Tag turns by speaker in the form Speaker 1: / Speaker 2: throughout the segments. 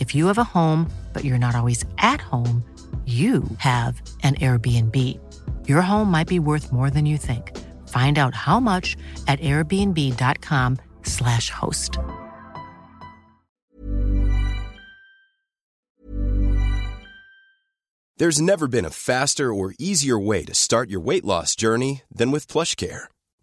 Speaker 1: If you have a home, but you're not always at home, you have an Airbnb. Your home might be worth more than you think. Find out how much at airbnb.com/slash host.
Speaker 2: There's never been a faster or easier way to start your weight loss journey than with PlushCare.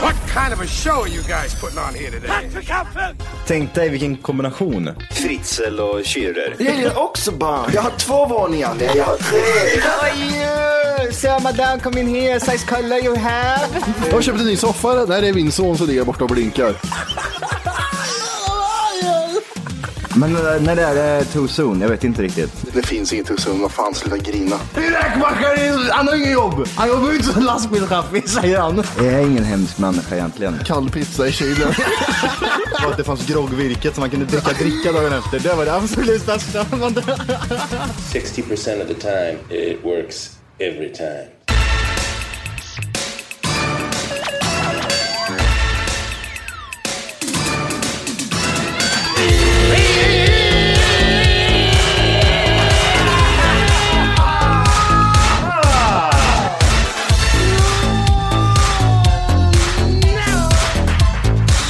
Speaker 3: What kind of a show are you guys putting on here today?
Speaker 4: Tänk dig vilken kombination.
Speaker 5: Fritzl och Schürrer.
Speaker 6: Jag gillar också barn. Jag har två våningar. Nej, jag har tre.
Speaker 4: How are you? Sir, madame, come in here. Size color you have.
Speaker 7: Jag har köpt en ny soffa. Nej, det är min son som ligger borta och blinkar.
Speaker 4: Men eh, när det är eh, too soon, jag vet inte riktigt.
Speaker 7: Det finns inget hos honom. Vad fan, sluta grina. Räkmackaren, han har inget jobb. Han jobbar ju inte som lastbilschaffis, säger han.
Speaker 4: Jag är ingen hemsk människa egentligen.
Speaker 7: Kall pizza i kylen.
Speaker 4: Och att det fanns groggvirket som man kunde dricka dricka dagen efter. Det var det absolut bästa.
Speaker 5: 60% of the time, it works every time.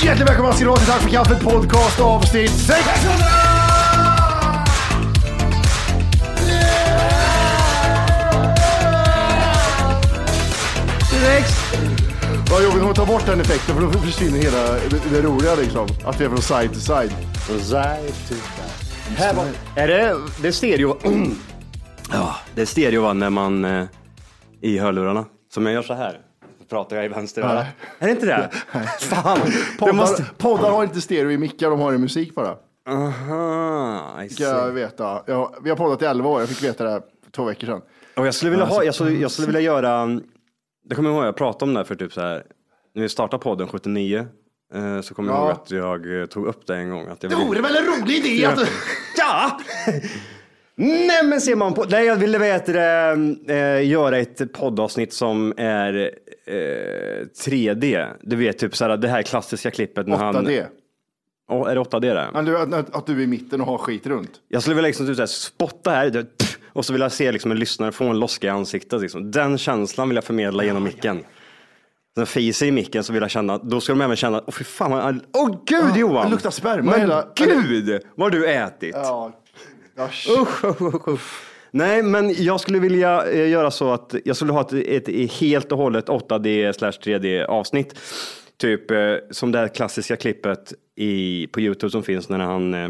Speaker 7: Hjärtligt välkomna ska ni vara till Tack för kaffet podcast avsnitt 600! Direkt! Vad jobbigt om att ta bort den effekten för då försvinner hela det, det roliga liksom. Att vi är från side to side.
Speaker 6: Här var... Är det, det är stereo... ja, det är stereo va, när man eh, i hörlurarna. Som jag gör så här. Då pratar jag i vänster öra. Är det inte det? Fan!
Speaker 7: Poddar,
Speaker 6: Det måste...
Speaker 7: poddar har inte stereo i mickar, de har i musik bara.
Speaker 6: Aha, I
Speaker 7: Fick jag
Speaker 6: see.
Speaker 7: veta. Jag, vi har poddat i 11 år, jag fick veta det här för två veckor sedan.
Speaker 6: Och jag skulle vilja ha, jag skulle, jag skulle vilja göra... mm, Det kommer jag ihåg, jag pratade om det här för typ så här. När vi startade podden 79. eh, Så kommer jag
Speaker 7: Ja.
Speaker 6: ihåg att jag eh, tog upp det en gång. Att jag
Speaker 7: Det
Speaker 6: ville-
Speaker 7: vore väl en rolig idé att...
Speaker 6: Ja! Nej men ser man på, nej jag ville veta det, eh, göra ett poddavsnitt som är eh, 3D. Du vet typ såhär det här klassiska klippet när han...
Speaker 7: 8D.
Speaker 6: Åh, är det 8D det?
Speaker 7: Men du, att, att du är i mitten och har skit runt.
Speaker 6: Jag skulle vilja liksom typ såhär spotta här du vet, pff, och så vill jag se liksom en lyssnare få en loska i ansiktet. Liksom. Den känslan vill jag förmedla genom micken. Sen fiser i micken så vill jag känna, då ska de även känna, åh fy fan, vad- åh gud Johan!
Speaker 7: det luktar sperma
Speaker 6: Men
Speaker 7: hela-
Speaker 6: gud, vad du ätit!
Speaker 7: Ja. Ja, sh-
Speaker 6: Usch, usch, usch, usch. Nej, men jag skulle vilja eh, göra så att jag skulle ha ett, ett helt och hållet 8D slash 3D avsnitt. Typ eh, som det här klassiska klippet i, på Youtube som finns när han eh,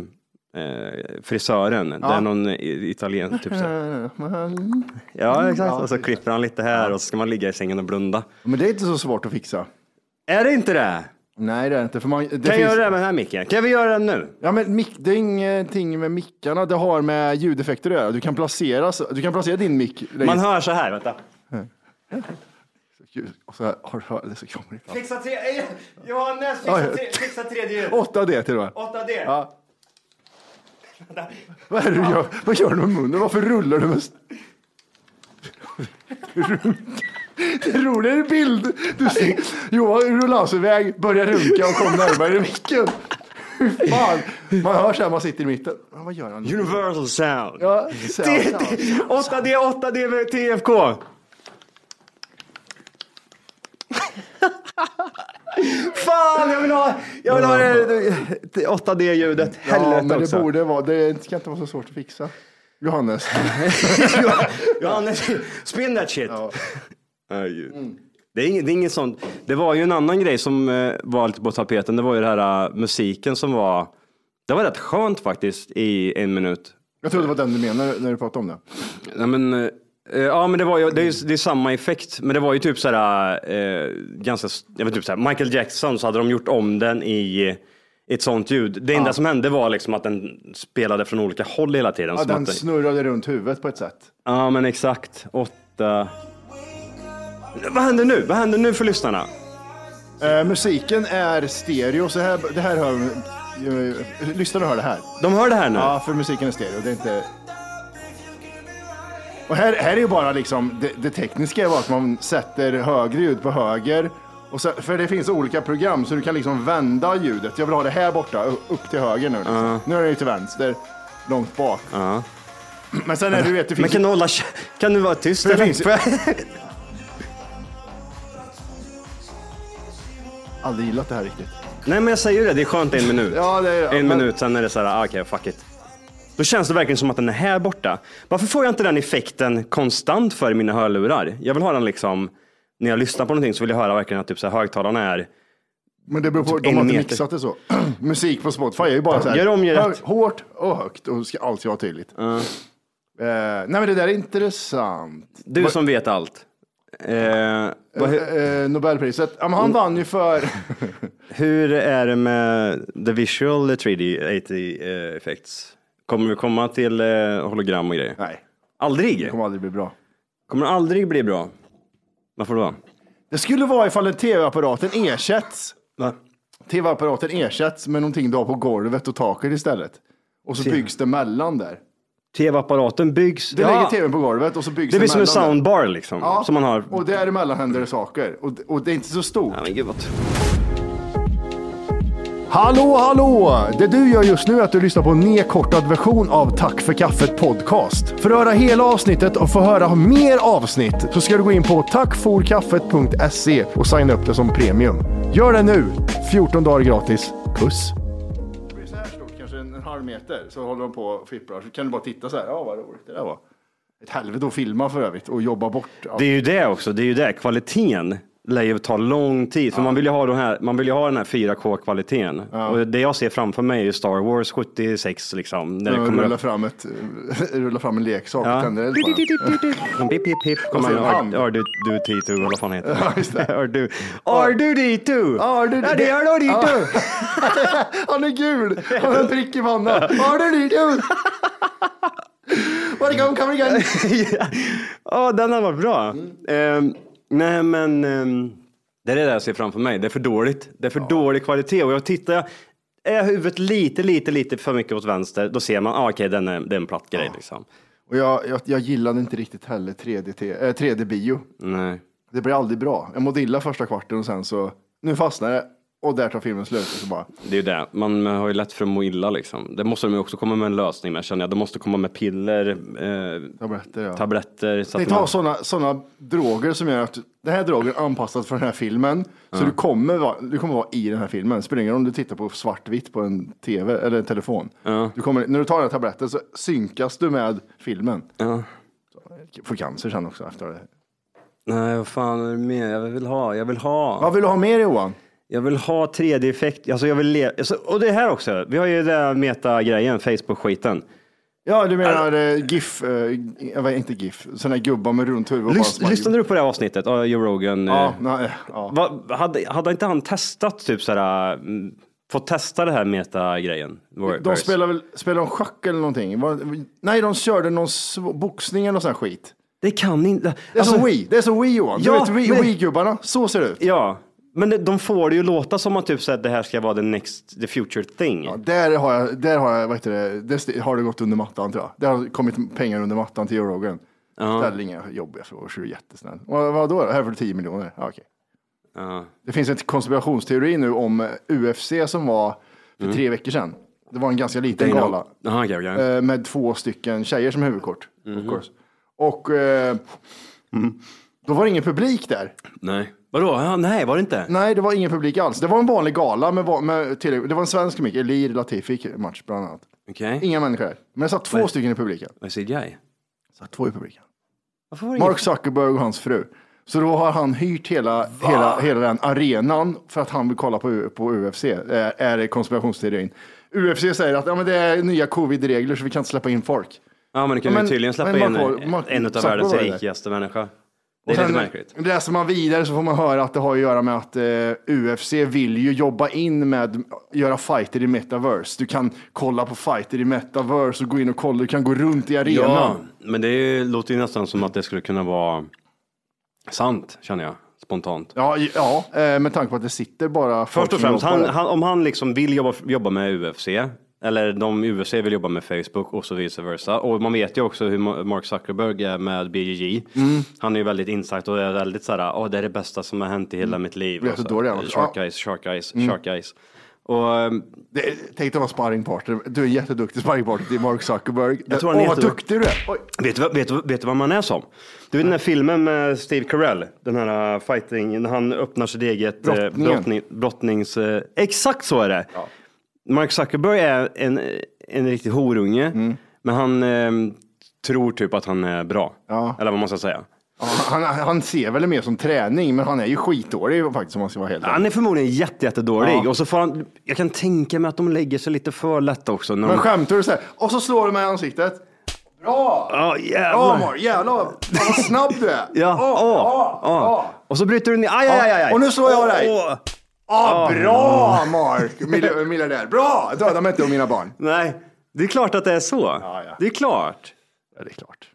Speaker 6: eh, frisören. Det är någon i- italien, typ så. här. Ja, exakt. Och så klipper han lite här och så ska man ligga i sängen och blunda.
Speaker 7: Men det är inte så svårt att fixa.
Speaker 6: Är det inte det?
Speaker 7: Nej, det är det inte. För man, det
Speaker 6: Kan jag
Speaker 7: finns-
Speaker 6: göra det med den här micken? Kan vi göra det nu?
Speaker 7: Ja, men mick, det är ingenting med mickarna. Det har med ljudeffekter att göra. Du kan placera, så- du kan placera din mick. längst-
Speaker 6: Man hör så här, vänta.
Speaker 7: Gud, Och så här, har du hört? Det är så krångligt.
Speaker 6: Fixa tre, Johannes,
Speaker 7: fixa Oj. tre-
Speaker 6: fixa tredje ljud.
Speaker 7: 8D till och med.
Speaker 6: 8D.
Speaker 7: Ja. Vad är det du gör? Vad gör du med munnen? Varför rullar du med... s- Det roliga är i bild. Du ser, Johan rullar alltså iväg, börjar runka och kommer närmare micken. Fy Fan. Man hör så här, man sitter i mitten. Ja, vad gör han? nu?
Speaker 6: Universal sound.
Speaker 7: Ja, så här,
Speaker 6: Det-
Speaker 7: så här.
Speaker 6: det- 8D, 8D med TFK. Fan, jag vill ha, jag vill ha det, det 8D-ljudet.
Speaker 7: Ja,
Speaker 6: Helvete
Speaker 7: men det
Speaker 6: också.
Speaker 7: borde vara. Det ska inte vara så svårt att fixa. Johannes.
Speaker 6: Johannes, spin that shit. Ja, ju.
Speaker 7: Mm.
Speaker 6: Det är, inget, det är inget sånt. Det var ju en annan grej som eh, var lite på tapeten. Det var ju det här eh, musiken som var. Det var rätt skönt faktiskt i en minut.
Speaker 7: Jag trodde det var den du menade när du pratade om det.
Speaker 6: Ja men, eh, eh, ja, men det, var ju, det, är, ju- det är samma effekt. Men det var ju typ så här, eh, ganska, s- jag vet, typ så här, Michael Jackson så hade de gjort om den i ett sånt ljud. Det enda som hände var liksom att den spelade från olika håll hela tiden.
Speaker 7: Ja,
Speaker 6: som
Speaker 7: den
Speaker 6: att,
Speaker 7: snurrade runt huvudet på ett sätt.
Speaker 6: Ja, men exakt. Åtta. Vad händer nu? Vad händer nu för lyssnarna?
Speaker 7: Eh, musiken är stereo, så här, det här hör... Uh, lyssnarna hör det här.
Speaker 6: De hör det här nu?
Speaker 7: Ja, för musiken är stereo, det är inte... Och här, här är ju bara liksom, det, det tekniska är bara att man sätter högre ljud på höger. Och så, för det finns olika program, så du kan liksom vända ljudet. Jag vill ha det här borta, u- upp till höger nu. Liksom. Nu är det ju till vänster, långt bak. Men sen är det, du vet, det
Speaker 6: Men
Speaker 7: finns
Speaker 6: kan du hålla... kä- Kan du vara tyst?
Speaker 7: Det
Speaker 6: eller?
Speaker 7: finns ju-
Speaker 6: Får jag-
Speaker 7: aldrig gillat det här riktigt.
Speaker 6: Nej, men jag säger ju det. Det är skönt en minut.
Speaker 7: Ja, det är-
Speaker 6: en
Speaker 7: men-
Speaker 6: minut, sen är det så här, ah, okej, fuck it. Då känns det verkligen som att den är här borta. Varför får jag inte den effekten konstant för i mina hörlurar? Jag vill ha den liksom... När jag lyssnar på någonting så vill jag höra verkligen att typ så här, högtalarna är...
Speaker 7: Men det beror på, de
Speaker 6: Typ en
Speaker 7: har inte
Speaker 6: meter.
Speaker 7: mixat det så. Musik på Spotify är ju bara så här.
Speaker 6: Gör om, gör
Speaker 7: hö-
Speaker 6: rätt.
Speaker 7: Hårt och högt och ska alltid vara tydligt. Eh, nej men det där är intressant.
Speaker 6: Du som vet allt. Eh, vad, hur,
Speaker 7: Eh, Nobelpriset, ja, men han vann ju för...
Speaker 6: hur är det med the visual 3D 80 eh, effects? Kommer vi komma till eh, hologram och grejer?
Speaker 7: nej, det
Speaker 6: Aldrig?
Speaker 7: kommer aldrig bli bra.
Speaker 6: Kommer aldrig bli bra. Varför då?
Speaker 7: Det skulle vara ifall en tv-apparaten ersätts.
Speaker 6: Va?
Speaker 7: Tv-apparaten ersätts med någonting du har på golvet och taket istället. Och så byggs det mellan där.
Speaker 6: Tv-apparaten byggs.
Speaker 7: Du lägger tvn på golvet och så byggs
Speaker 6: det
Speaker 7: det,
Speaker 6: blir som en
Speaker 7: mellan där.
Speaker 6: soundbar liksom.
Speaker 7: Ja,
Speaker 6: Som man har.
Speaker 7: och däremellan händer det saker. Och, och det är inte så stort.
Speaker 6: Ja, men gud vad...
Speaker 7: Hallå, hallå! Det du gör just nu är att du lyssnar på en nedkortad version av Tack för kaffet podcast. För att höra hela avsnittet och få höra mer avsnitt så ska du gå in på tackforkaffet.se och signa upp det som premium. Gör det nu! 14 dagar gratis. Puss! Det blir så här stort, kanske en, en halv meter, så håller de på och flipprar. Så kan du bara titta så här, ja vad roligt det där var. Ett helvete att filma för övrigt och jobba bort. allt.
Speaker 6: Det är ju det också. Det är ju det. Kvaliteten lär ju ta lång tid. För man, vill ju ha de här, man vill ju ha den här 4K-kvaliteten. Och det jag ser framför mig är ju Star Wars 76 liksom. När det
Speaker 7: Ja,
Speaker 6: kommer
Speaker 7: rulla,
Speaker 6: upp.
Speaker 7: fram ett, rulla fram en leksak,
Speaker 6: Ja.
Speaker 7: tänder eld på den.
Speaker 6: Pip, pip, pip.
Speaker 7: Och
Speaker 6: Kommer
Speaker 7: sen
Speaker 6: en
Speaker 7: hand.
Speaker 6: R2, T2, eller vad fan heter det?
Speaker 7: Ja, just det.
Speaker 6: R2,
Speaker 7: R2D2.
Speaker 6: R2D2. Ja, det är R2D2.
Speaker 7: Han är gul! Han har en prick i pannan. Har du det gul? Var det kom, kom igen!
Speaker 6: Ja, Ja, den hade varit bra. Ehm, nej, men ehm, det är det där jag ser framför mig. Det är för dåligt. Det är för dålig kvalitet. Och jag tittar, är huvudet lite, lite, lite för mycket åt vänster, då ser man, ah, okej, den är, det är en platt grej liksom.
Speaker 7: Och jag, jag, jag gillade inte riktigt heller 3D, äh, 3D-bio.
Speaker 6: Nej.
Speaker 7: Det blir aldrig bra. Jag mådde illa första kvarten och sen så, nu fastnar det och där tar filmen slut. Och så bara,
Speaker 6: Det är ju det, man har ju lätt för att må illa liksom. Det måste de ju också komma med en lösning med känner jag. De måste komma med piller, eh,
Speaker 7: tabletter ja.
Speaker 6: tabletter. Så
Speaker 7: Tänk
Speaker 6: man-
Speaker 7: ta sådana såna droger som gör att den här drogen är anpassad för den här filmen. Så du, kommer vara, du kommer vara i den här filmen. Spelar ingen roll om du tittar på svartvitt på en tv eller en telefon. Du kommer, när du tar den här tabletten så synkas du med filmen.
Speaker 6: Ja.
Speaker 7: Så, eh, Får cancer sen också efter det.
Speaker 6: Nej, vad fan är det mer? Jag vill ha, jag vill ha.
Speaker 7: Vad vill du ha mer Johan?
Speaker 6: Jag vill ha 3D-effekt. Alltså jag vill le- alltså, och det här också. Vi har ju den här meta-grejen, Facebook-skiten.
Speaker 7: Ja, du menar eh, GIF, eh, jag vet inte GIF, sådana här gubbar med runt huvud. och bara
Speaker 6: Lys-
Speaker 7: små-
Speaker 6: Lyssnade du på det här avsnittet av Joe Rogan?
Speaker 7: Ja,
Speaker 6: eh,
Speaker 7: nej, ja.
Speaker 6: Vad- hade, hade inte han testat typ såhär, mm, fått testa det här meta-grejen?
Speaker 7: De
Speaker 6: Verse.
Speaker 7: spelar väl, spelar de schack eller någonting? Var, nej, de körde någon sv- boxning eller någon sån här skit.
Speaker 6: Det kan alltså, inte.
Speaker 7: Det är som Wii, det är som Wii Johan.
Speaker 6: Ja,
Speaker 7: du vet Wii-
Speaker 6: men-
Speaker 7: Wii-gubbarna, så ser det ut.
Speaker 6: Ja, men det- de får det ju låta som att typ så att det här ska vara the next, the future thing.
Speaker 7: Ja, där har jag, där har jag, vad heter det, där st- har det gått under mattan tror jag. Det har kommit pengar under mattan till Joe Rogan. Ställ inga jobbiga frågor så är du jättesnäll. Vad, vad då? Här får du 10 miljoner. Ja, okej.
Speaker 6: Ja.
Speaker 7: Det finns en konspirationsteori nu om eh, UFC som var för tre veckor sedan. Det var en ganska liten
Speaker 6: Dana-
Speaker 7: gala.
Speaker 6: Jaha, okej, okej.
Speaker 7: eh, med två stycken tjejer som huvudkort. Of course. Och eh, då var det ingen publik där.
Speaker 6: Nej. Vadå? Ja, nej, var det inte?
Speaker 7: Nej, det var ingen publik alls. Det var en vanlig gala. Med, va- med, till, det var en svensk komiker, Elir Latifi fick match bland annat.
Speaker 6: Okej.
Speaker 7: Inga människor där. Men det satt två stycken i publiken.
Speaker 6: Vad är CGI?
Speaker 7: satt två i publiken.
Speaker 6: Varför var det
Speaker 7: Mark Zuckerberg och hans fru. Så då har han hyrt hela, hela, hela den arenan för att han vill kolla på, U- på UFC. Eh, är det konspirationsteorin? UFC säger att ja, men det är nya covid-regler så vi kan inte släppa in folk.
Speaker 6: Ja, men det kan
Speaker 7: Ja,
Speaker 6: ju
Speaker 7: men-
Speaker 6: tydligen släppa
Speaker 7: men
Speaker 6: in
Speaker 7: Mark- Mark-
Speaker 6: en av
Speaker 7: Zuckerberg
Speaker 6: världens
Speaker 7: var det.
Speaker 6: rikaste människa. Det
Speaker 7: Och
Speaker 6: är lite
Speaker 7: sen
Speaker 6: märkligt.
Speaker 7: läser man vidare så får man höra att det har att göra med att eh, UFC vill ju jobba in med göra fighter i metaverse. Du kan kolla på fighter i metaverse och gå in och kolla. Du kan gå runt i arenan.
Speaker 6: Ja, men det är ju, låter ju nästan som att det skulle kunna vara sant, känner jag spontant.
Speaker 7: Ja, ja eh, med tanke på att det sitter bara folk
Speaker 6: Först och
Speaker 7: som
Speaker 6: främst,
Speaker 7: jobbar
Speaker 6: han,
Speaker 7: där.
Speaker 6: han, om han liksom vill jobba, jobba med UFC, eller de UFC vill jobba med Facebook och så vice versa. Och man vet ju också hur Ma- Mark Zuckerberg är med BJJ.
Speaker 7: Mm.
Speaker 6: Han är ju väldigt insatt och är väldigt såhär, åh det är det bästa som har hänt i hela mitt liv.
Speaker 7: Vet
Speaker 6: Och
Speaker 7: du
Speaker 6: så,
Speaker 7: då Mm. det är också?
Speaker 6: Shark
Speaker 7: Ja. Mm.
Speaker 6: eyes, shark eyes, shark eyes. Och ehm,
Speaker 7: Det, tänk dig vara sparringpartner. Du är en jätteduktig sparringpartner till Mark Zuckerberg.
Speaker 6: Jag tror han är
Speaker 7: Åh, vad
Speaker 6: jätteduktig.
Speaker 7: duktig du är. Oj.
Speaker 6: vet du, vad- vet, du- vet du vad man är som? Du vet den här filmen med Steve Carell, den här uh, fighting, när han öppnar sitt eget eh,
Speaker 7: Brottningen.
Speaker 6: brottning, brottnings... eh, Exakt så är det! Mark Zuckerberg är en, en riktig horunge,
Speaker 7: Mm.
Speaker 6: men han eh, tror typ att han är bra. Eller vad man ska säga.
Speaker 7: Ja, Han, han ser väl mer som träning, men han är ju skitdålig faktiskt om man ska vara helt
Speaker 6: Han
Speaker 7: ärlig.
Speaker 6: är förmodligen jätte, jättedålig.
Speaker 7: Ja.
Speaker 6: Och så får han, jag kan tänka mig att de lägger sig lite för lätt också. När
Speaker 7: Men
Speaker 6: de,
Speaker 7: skämtar du så här? Och så slår du mig i ansiktet. Bra!
Speaker 6: Ja,
Speaker 7: Bra
Speaker 6: jävlar.
Speaker 7: Mark, jävlar vad fan, vad snabb du är.
Speaker 6: Ja,
Speaker 7: Åh,
Speaker 6: åh,
Speaker 7: åh,
Speaker 6: åh.
Speaker 7: åh.
Speaker 6: Och så bryter du ner, aj, aj, aj, aj.
Speaker 7: Och nu slår jag dig.
Speaker 6: Åh.
Speaker 7: Ah, bra Mark, Mil- miljardär. Bra! Döda mig inte och mina barn.
Speaker 6: Nej, det är klart att det är så.
Speaker 7: ja.
Speaker 6: Det är klart.
Speaker 7: Ja, det är klart.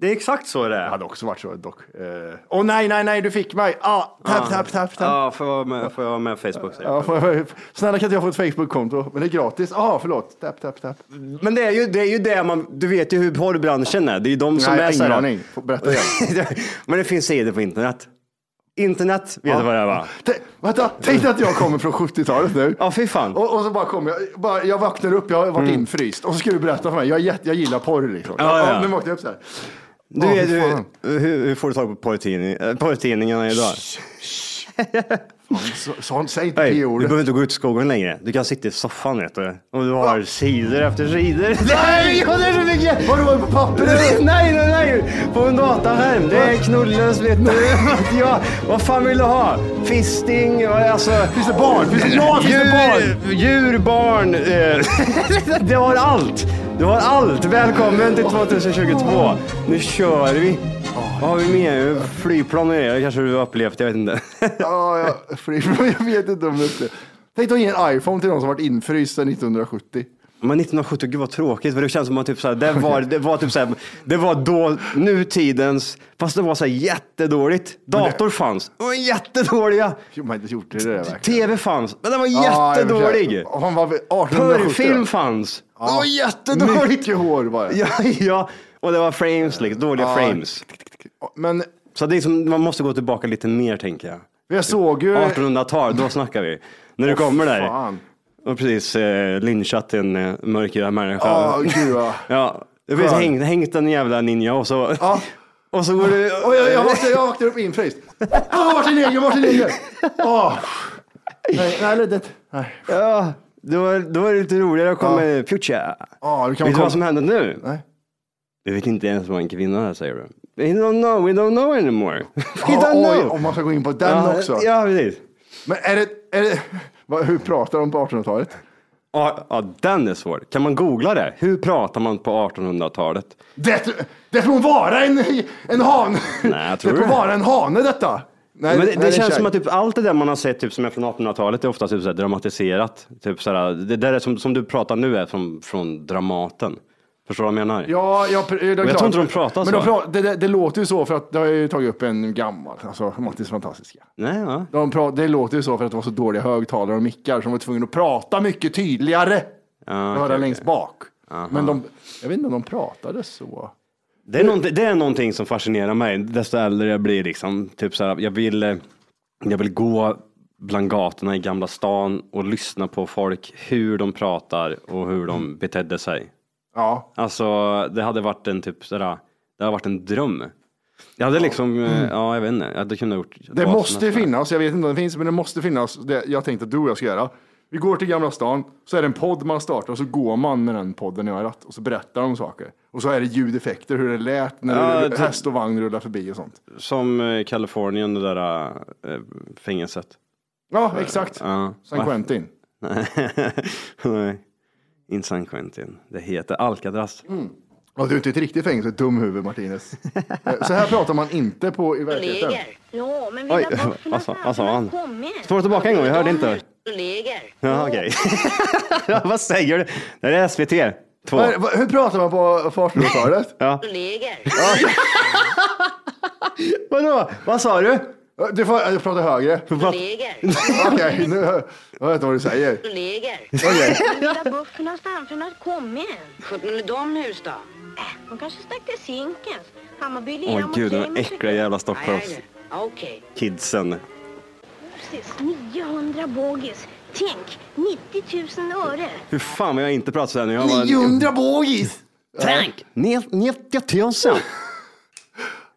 Speaker 6: Det är exakt så det
Speaker 7: Det
Speaker 6: är.
Speaker 7: hade också varit så dock. Åh eh. åh, nej, nej, nej, du fick mig. Ah, tapp, tapp, tapp, tapp.
Speaker 6: Ja, får jag vara med, får jag vara med Facebook? säger jag.
Speaker 7: Ja, får jag- Snälla kan inte jag få ett Facebook-konto? Men det är gratis. Ja, ah, förlåt. Tapp, tapp, tapp.
Speaker 6: Men det är ju det, är ju det man, du vet ju hur porrbranschen är. Det är ju de som
Speaker 7: Nej,
Speaker 6: är
Speaker 7: ingen
Speaker 6: här-
Speaker 7: aning. Får- Berätta igen.
Speaker 6: Men det finns sidor på internet. Internet, vet du vad det är va?
Speaker 7: T- vänta, tänk dig att jag kommer från 70-talet nu.
Speaker 6: Ja, fy fan.
Speaker 7: Och, och så bara kommer jag, bara, jag vaknar upp, jag har varit infryst. Och så ska du berätta för mig, jag, är jätte, jag gillar porr liksom.
Speaker 6: Mm. Ja, ja.
Speaker 7: nu vaknar jag upp så här.
Speaker 6: Du,
Speaker 7: Åh,
Speaker 6: vet
Speaker 7: fy
Speaker 6: ju-
Speaker 7: fan.
Speaker 6: hur, hur får du tag på porrtidning- eh, porrtidningarna idag?
Speaker 7: Så, så, säg inte
Speaker 6: Hey,
Speaker 7: det
Speaker 6: du
Speaker 7: ordet.
Speaker 6: behöver inte gå ut i skogen längre. Du kan sitta i soffan vet du. Och du har sidor efter sidor. Nej, och det är så mycket!
Speaker 7: Vadå, var det på
Speaker 6: Nej,
Speaker 7: pappret?
Speaker 6: nej, nej! På en dataskärm. Det är knullens, vet du. Ja, vad fan vill du ha? Fisting, vad- alltså...
Speaker 7: Finns det barn? Finns det, ja, finns det barn?
Speaker 6: Djur, barn. eh, Du har allt. Du har allt. Välkommen till 2022. Nu kör vi. Vad har vi mer? Flygplan och det kanske du har upplevt, jag vet inte.
Speaker 7: Ja, ja, fri- jag vet inte om det är Tänk dig att ge en iPhone till någon som varit infryst sedan 1970.
Speaker 6: Men 1970, gud vad tråkigt, för det känns som att typ så här, det, var, det var typ så här, det var då, nutidens, fast det var så här jättedåligt. Dator fanns, de var jättedåliga.
Speaker 7: Jo, men det gjorde det där verkligen.
Speaker 6: Tv fanns, men den var
Speaker 7: Ja, i och för sig.
Speaker 6: jättedålig.
Speaker 7: Han var väl 1870.
Speaker 6: Porrfilm fanns, den var jättedålig.
Speaker 7: Mycket hår var det.
Speaker 6: Ja, ja, och det var frames, liksom, dåliga
Speaker 7: Ja.
Speaker 6: frames.
Speaker 7: Men
Speaker 6: Så det är som, man måste gå tillbaka lite mer tänker jag.
Speaker 7: jag såg ju...
Speaker 6: 1800-tal, då snackar vi. När du kommer där
Speaker 7: Fan.
Speaker 6: och precis eh, lynchat en eh, mörkhyad människa.
Speaker 7: Ja, gud ja.
Speaker 6: Ja, det finns
Speaker 7: Skön.
Speaker 6: hängt, hängt en jävla ninja och så,
Speaker 7: Ja.
Speaker 6: och så går du...
Speaker 7: Oj, jag, jag, vaknade, jag vaknade upp infryst. Ah, Martin Egger, Martin Egger! Oh. Nej, nej, det- det- nej.
Speaker 6: Ja, då, var- då var det lite roligare att komma med Future.
Speaker 7: Ja, du kan
Speaker 6: vet du
Speaker 7: komma-
Speaker 6: vad som hände nu?
Speaker 7: Nej.
Speaker 6: Vi vet inte ens vad en kvinna är, säger du. We don't know, we don't know anymore. We
Speaker 7: Ja,
Speaker 6: don't
Speaker 7: Ah, oj,
Speaker 6: know.
Speaker 7: om man ska gå in på den
Speaker 6: ja,
Speaker 7: också.
Speaker 6: Ja, precis.
Speaker 7: Men är det... Eller, vad, hur pratar de på 1800-talet?
Speaker 6: Ja, ja, den är svår. Kan man googla det? Hur pratar man på 1800-talet?
Speaker 7: Det, det får vara en, en han.
Speaker 6: Nej, jag tror
Speaker 7: det får
Speaker 6: det.
Speaker 7: vara en hane detta. Nej,
Speaker 6: Men
Speaker 7: nej,
Speaker 6: det, det känns
Speaker 7: kär.
Speaker 6: som att typ allt det där man har sett typ som är från 1800-talet är ofta typ så här dramatiserat. Typ så här, det där är som, som du pratar nu är från, från Dramaten. Förstår du vad jag menar?
Speaker 7: Ja, jag, det är
Speaker 6: tror
Speaker 7: klart.
Speaker 6: inte de pratar
Speaker 7: Men de
Speaker 6: så.
Speaker 7: pra- det, det, det låter ju så för att, det har jag ju tagit upp en gammal, alltså Mattis fantastiska.
Speaker 6: Nej, ja.
Speaker 7: De pra- det låter ju så för att det var så dåliga högtalare och mickar så de var tvungna att prata mycket tydligare.
Speaker 6: Ja,
Speaker 7: att höra
Speaker 6: okej,
Speaker 7: längst
Speaker 6: okej.
Speaker 7: bak. Men de, jag vet inte om de pratade så.
Speaker 6: Det, är någonting, det är någonting som fascinerar mig desto äldre jag blir. Liksom. Typ så här, jag, vill, eh, jag vill gå bland gatorna i Gamla stan och lyssna på folk, hur de pratar och hur
Speaker 7: Mm.
Speaker 6: de betedde sig.
Speaker 7: Ja,
Speaker 6: Alltså, det hade varit en typ sådär, det hade varit en dröm. Jag hade liksom, eh, ja jag vet inte, jag hade kunnat gjort.
Speaker 7: Mm. Det
Speaker 6: vad som
Speaker 7: måste
Speaker 6: helst.
Speaker 7: finnas, jag vet inte om det finns, men det måste finnas. Det jag tänkte att du och jag ska göra. Vi går till Gamla stan, så är det en podd man startar och så går man med den podden i örat och så berättar de saker. Och så är det ljudeffekter, hur det lät när
Speaker 6: Ja,
Speaker 7: det-
Speaker 6: det-
Speaker 7: häst och vagn rullar förbi och sånt.
Speaker 6: Som eh, Kalifornien, det där eh, fängelset.
Speaker 7: Ja, exakt.
Speaker 6: Ja.
Speaker 7: San Quentin.
Speaker 6: Nej, inte San Quentin. Det heter Alcatraz.
Speaker 7: Ja, du är inte ett riktigt fängelse, dumhuvud Martinez. Eh, så här pratar man inte på i verkligheten.
Speaker 5: Ja, men
Speaker 6: Oj,
Speaker 5: vi har bort
Speaker 6: vad sa- vad sa han?
Speaker 5: kommit.
Speaker 6: Står du tillbaka en gång? Jag hörde inte.
Speaker 5: Kollegor.
Speaker 6: Ja, okej. Vad säger du? Det är SVT 2.
Speaker 7: Vad är- vad- Hur pratar man på 1800-talet?
Speaker 5: Kollegor.
Speaker 6: Vadå? Vad sa du?
Speaker 7: Eh, Du får eh, prata högre.
Speaker 5: Kollegor.
Speaker 7: Okej, nu jag vet inte vad du säger.
Speaker 5: Kollegor.
Speaker 7: Okej.
Speaker 5: Men Lilla buffen har stannfrunnat kommit. Sjutton är de hus då? Äh, de kanske stack till Zinkens. Hammarby, Lerum
Speaker 6: Åh
Speaker 5: och
Speaker 6: gud, de
Speaker 5: Kremers-
Speaker 6: här äckliga jävla
Speaker 5: Nej,
Speaker 6: Stockholms
Speaker 5: nej. Okej.
Speaker 6: kidsen.
Speaker 5: Precis, 900 bogis. Tänk, 90 000 öre.
Speaker 6: Hur fan har jag inte pratat så här när jag var...
Speaker 7: 900 bogis!
Speaker 6: Frank! 90 000!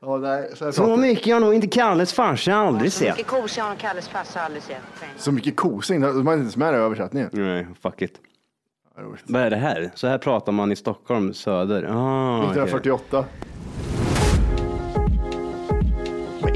Speaker 7: Ja, nej, så, här
Speaker 6: Så
Speaker 7: pratar-
Speaker 6: mycket har nog inte Kalles farsa aldrig sett.
Speaker 5: kosig har Kalles farsa aldrig sett.
Speaker 7: så mycket kosing, de har inte ens med det i översättningen.
Speaker 6: Nej, fuck it. Vad är det här? Så här pratar man i Stockholm söder. Ah, okej.
Speaker 7: 1948. Men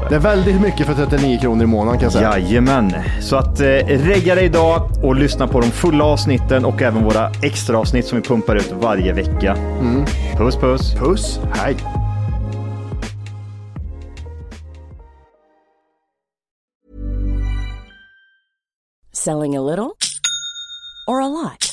Speaker 8: det.
Speaker 7: Det är väldigt mycket för 39 kronor i månaden kan jag säga.
Speaker 8: Jajamän, så att eh, regga dig idag och lyssna på de fulla avsnitten och även våra extra avsnitt som vi pumpar ut varje vecka.
Speaker 7: Mm.
Speaker 8: Puss puss!
Speaker 7: Puss, hej.
Speaker 9: Selling a little or a lot?